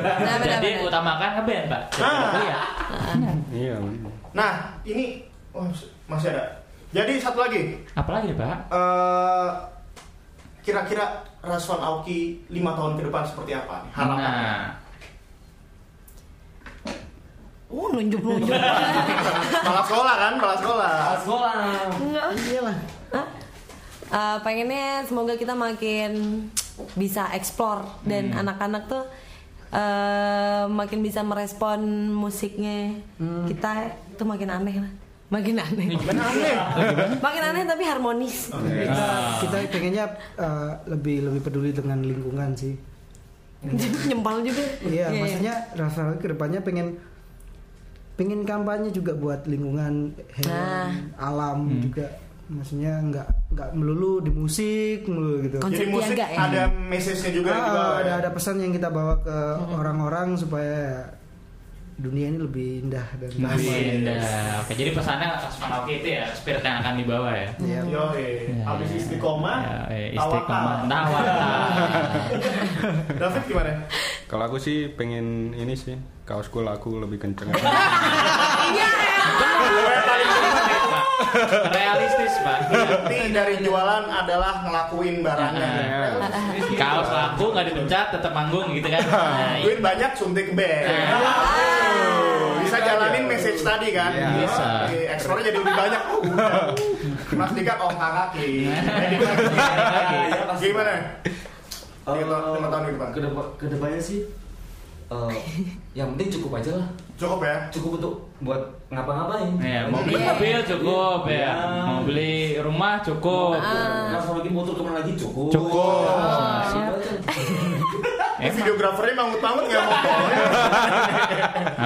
H: Jadi
D: benar.
H: utamakan ngeband pak.
C: Ah.
H: Kuliah.
F: Iya. bener.
C: Nah ini oh, masih ada. Jadi satu lagi
H: Apalagi nih, pak?
C: eh, kira-kira Raswan Aoki lima tahun ke depan seperti apa? nih? Harapannya.
H: Nah,
D: uh nunjuk nunjuk
C: Malah sekolah kan? Malah sekolah.
I: sekolah
D: Enggak. Hah? Eh, pengennya semoga kita makin bisa explore dan
E: Hmm.
D: anak-anak tuh eh, makin bisa merespon musiknya. Kita tuh makin aneh lah. Makin aneh.
C: Benar aneh.
D: makin aneh tapi harmonis.
E: Kita, kita
H: Ah.
E: pengennya eh, lebih lebih peduli dengan lingkungan sih.
D: Nyempal juga.
E: Iya, maksudnya Rafael kedepannya pengen pengen kampanye juga buat lingkungan hewan,
D: Nah.
E: alam
C: Hmm.
E: juga. Maksudnya nggak nggak melulu di musik melulu gitu.
D: Kon- Konsep
C: Jadi musik
D: Tiaga ya.
C: ada message-nya juga
E: Ah,
C: di bawah.
E: ada
C: ya?
E: ada pesan yang kita bawa ke orang-orang supaya dunia ini lebih indah dan
C: Iya.
E: damai.
H: Indah. eh. Oke, jadi pesannya Rasman Oke itu ya spirit yang akan dibawa ya.
E: Iya.
C: Yoi, habis istiqomah,
H: Ya, eh,
C: tawakal.
H: istiqomah, tawakal.
C: David gimana?
F: Kalau aku sih pengen ini sih kaos kul aku lebih kenceng.
H: Realistis pak.
C: Inti dari jualan adalah ngelakuin barangnya.
H: Kaos laku nggak dipecat, tetap manggung gitu kan. Nah,
C: Duit banyak suntik bank.
H: Iya.
C: Oh, bisa jalanin message tadi kan?
F: Iya.
H: Bisa.
C: Oke, Ekspornya jadi lebih banyak. Oh, udah. Mas Dika kong kaki. gitu.
I: Iya,
C: Gimana? Lima
I: Eh,
C: lima tahun ke depan.
I: kedep- kedepannya sih eh, yang penting cukup aja lah
C: Cukup ya?
I: cukup untuk buat ngapa-ngapain
H: Ya, mau beli mobil cukup ya. Mau beli rumah cukup.
I: Langsung lagi motor kemana lagi cukup
F: Cukup.
I: Ah, gitu aja.
C: Oh,
H: Emang
C: Videografernya mangut-mangut nggak mau.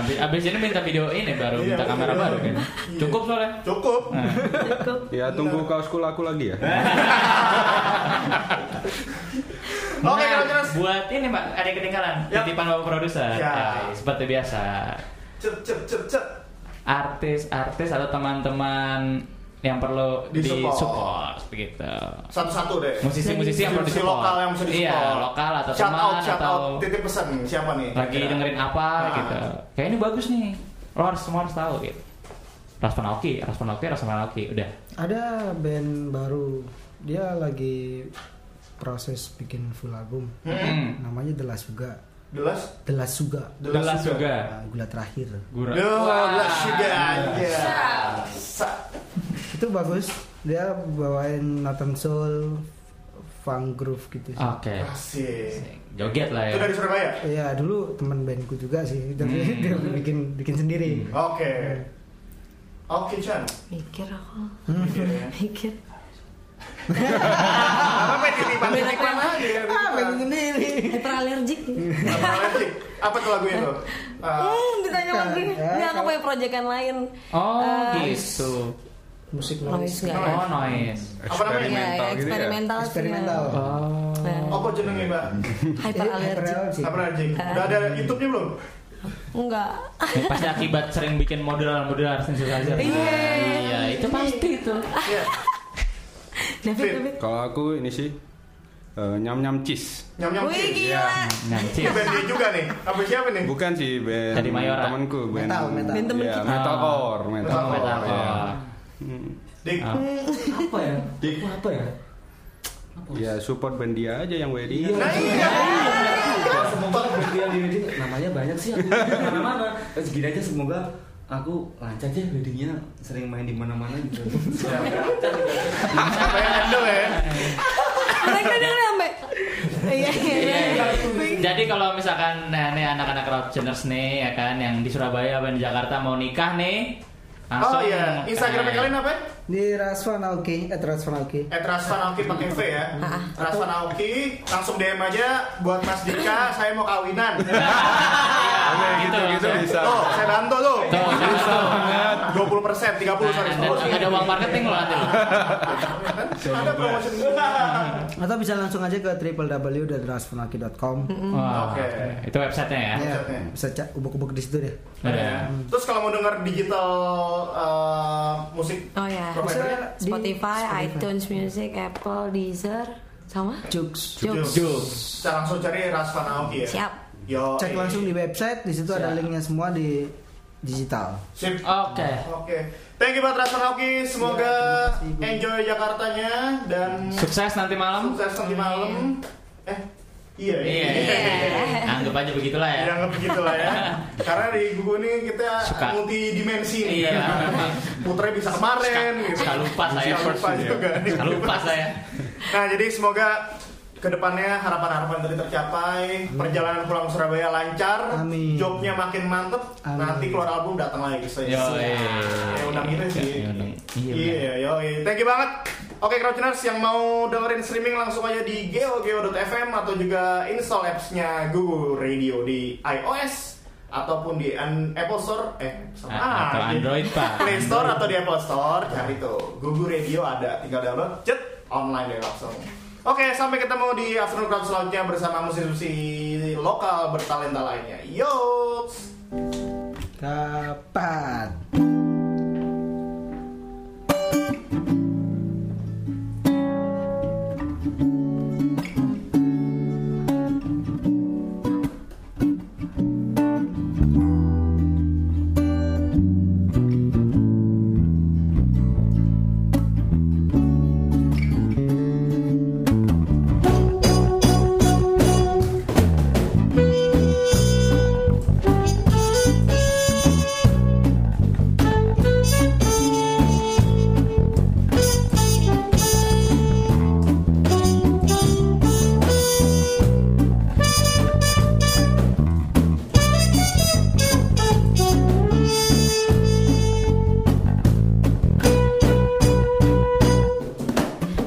H: abis, abis ini minta video ini baru
C: Iya,
H: minta kamera
C: iya.
H: baru kan.
C: Iya.
H: Cukup soalnya.
C: Cukup.
H: Nah.
F: ya tunggu kaos kul aku lagi ya.
C: Oke,
H: Nah,
C: terus.
H: buat ini Pak, ada yang ketinggalan.
C: Yap.
H: Titipan Bapak produser.
C: Ya.
H: Oke, seperti biasa.
C: Cep cep cep cep.
H: Artis-artis atau teman-teman yang perlu
C: Disupport.
H: disupport begitu.
C: Satu-satu deh.
H: Musisi-musisi yang perlu
C: Musisi
H: disupport.
C: lokal yang bisa
H: Iya,
C: disupport.
H: lokal atau
C: shout
H: teman
C: out, shout
H: atau-
C: out, titip pesan siapa nih?
H: Lagi
C: Kira-kira.
H: dengerin apa
C: Ah.
H: gitu. Kayak ini bagus nih. Lo harus semua harus tahu gitu. Raspon Aoki, Raspon Aoki, Raspon Aoki, udah.
E: Ada band baru, dia lagi proses bikin full album.
C: Hmm.
E: Namanya The Last Suga.
C: Delas,
E: The Last Suga.
H: Delas juga.
E: Nah, Gula terakhir.
H: Gura.
C: Duh, Delas juga aja.
E: Itu bagus. Dia bawain Nathan Soul, funk groove gitu sih.
H: Oke.
C: Asik.
H: Joget lah ya.
C: Itu dari Surabaya.
E: Iya dulu teman bandku juga sih, tapi dia bikin bikin sendiri.
C: Oke. Oke, Chan.
D: mikir aku
C: Mikir ya.
D: Hmm. mikir
C: Apa titipan titipan aja?
E: Ah,
C: titipan.
E: bikin sendiri.
D: hyperallergic
C: Apa allergic? Apa tuh lagunya tuh? Ah,
D: Hmm, ditanya
E: Bukan,
D: lagi
E: ya,
D: nggak aku
E: kalau-
D: punya proyekan lain
H: Oh,
D: Eh,
H: gitu.
E: Musik
D: noise
E: noise.
D: nggak ya?
H: Oh, noise.
C: Apa namanya?
D: Iya, ya,
F: Eksperimental gitu ya.
D: eksperimental sih,
E: Eksperimental. Eh,
D: ya.
H: Oh.
D: Nah,
C: apa jenengnya, Mbak?
D: hyperallergic
E: Hyperallergic.
C: Apa allergic? Udah ada YouTube-nya belum?
D: enggak
H: Ini pasti akibat sering bikin modal-modal sensitizer.
D: Iya.
H: Iya, itu pasti itu.
C: Iya.
D: David
C: Fit.
D: David
F: Kalau aku ini sih eh, nyam-nyam cheese.
C: Nyam-nyam
D: wih
C: cheese.
D: gila
H: Nanti.
C: Ini band dia juga nih. Apa siapa nih?
F: Bukan sih band
H: Dari Mayora.
F: temanku band
E: Metal, metal.
D: Band temen
F: Iya,
D: kita.
F: metalcore,
H: Oh,
F: metalcore.
H: Metalcore.
F: iya.
C: Dik.
I: apa ya?
F: Dik.
I: Wah, apa ya?
F: Ya support band dia aja yang wedding.
C: Nah, iya.
I: Nah, Semoga berarti yang di wedding namanya banyak sih aku mana-mana. Terus gini Eh, aja semoga aku lancar deh weddingnya sering main di mana-mana gitu.
C: Siapa yang handle ya?
D: mereka udah sampai iya iya iya.
H: Jadi kalau misalkan nah, nih anak-anak Crowdtuners nih ya kan yang di Surabaya apa yang di Jakarta mau nikah nih
C: Oh
H: langsung
C: iya, Instagramnya
H: eh,
C: kalian apa?
E: Di Rasvan Aoki, eh Rasvan Aoki.
C: Eh, Rasvan Aoki pakai V ya. Rasvan Aoki, langsung DM aja buat Mas Dika, saya mau kawinan.
H: Iya,
F: Gitu, gitu
H: langsung.
F: bisa.
C: Tuh, saya bantu tuh.
H: Tuh, siapa tuh?
C: 20 persen, 30 sorry. Kan
H: Nah, ada, ada uang marketing loh nanti loh.
C: Ada promosi juga.
H: Nah,
E: Atau bisa langsung aja ke www.rasvanalki.com.
H: Wah,
C: Oke.
H: Itu websitenya ya.
E: Ya,
C: Website-nya.
E: bisa cek ubuk-ubuk di situ deh.
C: Ada ya. Terus kalau mau denger digital eh, musik
D: oh ya
C: provider,
E: Di
D: Spotify iTunes Music Apple Deezer sama
E: Jux.
D: Joox.
C: Saya langsung cari Rasvan Aoki ya.
D: siap
C: Yo, eh.
E: Cek langsung di website, di situ ada
H: Siap.
E: linknya semua di digital.
C: Sip.
H: Oke.
C: Oke. Thank you buat Rasvan Aoki. Semoga
E: terima kasih, Bu.
C: enjoy Jakartanya dan
H: Sukses nanti malam.
C: sukses nanti malam. Eh, iya.
H: Iya. Anggap aja begitulah ya.
C: Dianggap begitu lah ya. Karena di buku ini kita
H: Suka.
C: multi dimensi nih.
H: Iya. memang.
C: Putra bisa kemarin.
H: Suka-
C: gitu.
H: suka lupa saya.
C: Suka lupa juga nih.
H: Kalau lupa saya.
C: Nah jadi semoga kedepannya harapan-harapan tadi tercapai, perjalanan pulang ke Surabaya lancar,
E: Amin.
C: jobnya makin mantep,
E: Amin.
C: nanti keluar album datang lagi saya.
H: Yo,
C: Saya undang kita sih.
H: Iya, undang. Iya,
C: Iya, yo, thank you banget. Oke, Crouchiners yang mau dengerin streaming langsung aja di geogeo.fm atau juga install apps-nya Google Radio di iOS ataupun di an- Apple Store eh sama
H: Ah, atau
C: aja.
H: Android, Pak.
C: Play Store atau di Apple Store cari tuh Google Radio ada tinggal download cet online deh langsung oke sampai ketemu di Afternoon Crowd selanjutnya bersama musisi-musisi lokal bertalenta lainnya yo
E: Kapan?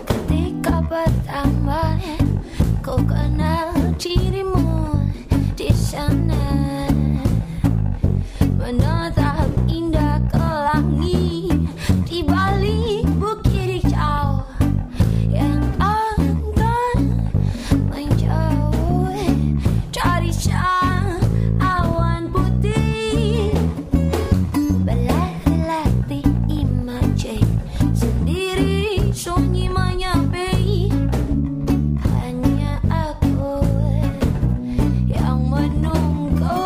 B: Ketika pertama ku kenal dirimu di sana Menatap indah ke langit di balik bukit hijau yang akan mencari Oh,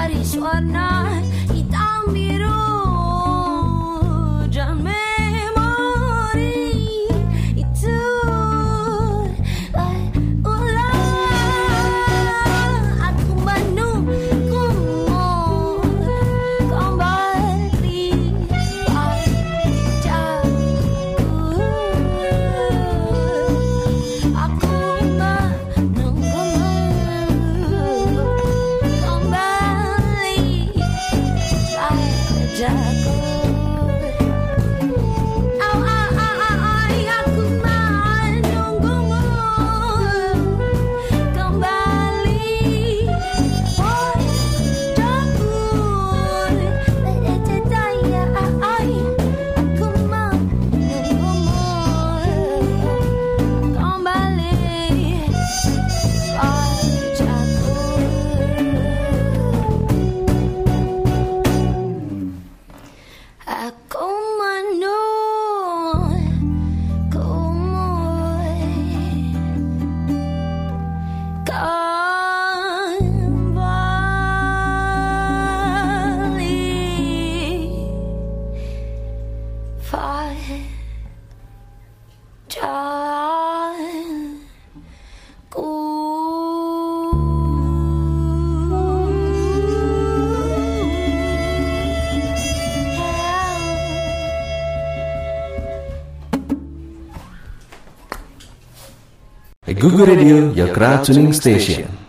B: Aris warna hitam biru dan memori itu eh, ulang aku menunggumu kembali ajakku Aku menunggumu kembali padaku. Au au au au, au, aku menunggumu kembali padaku. Percaya, aku menunggumu kembali pajakku Aku menunggumu kembali pajakku
J: Eh, Google Radio, your crowd tuning station.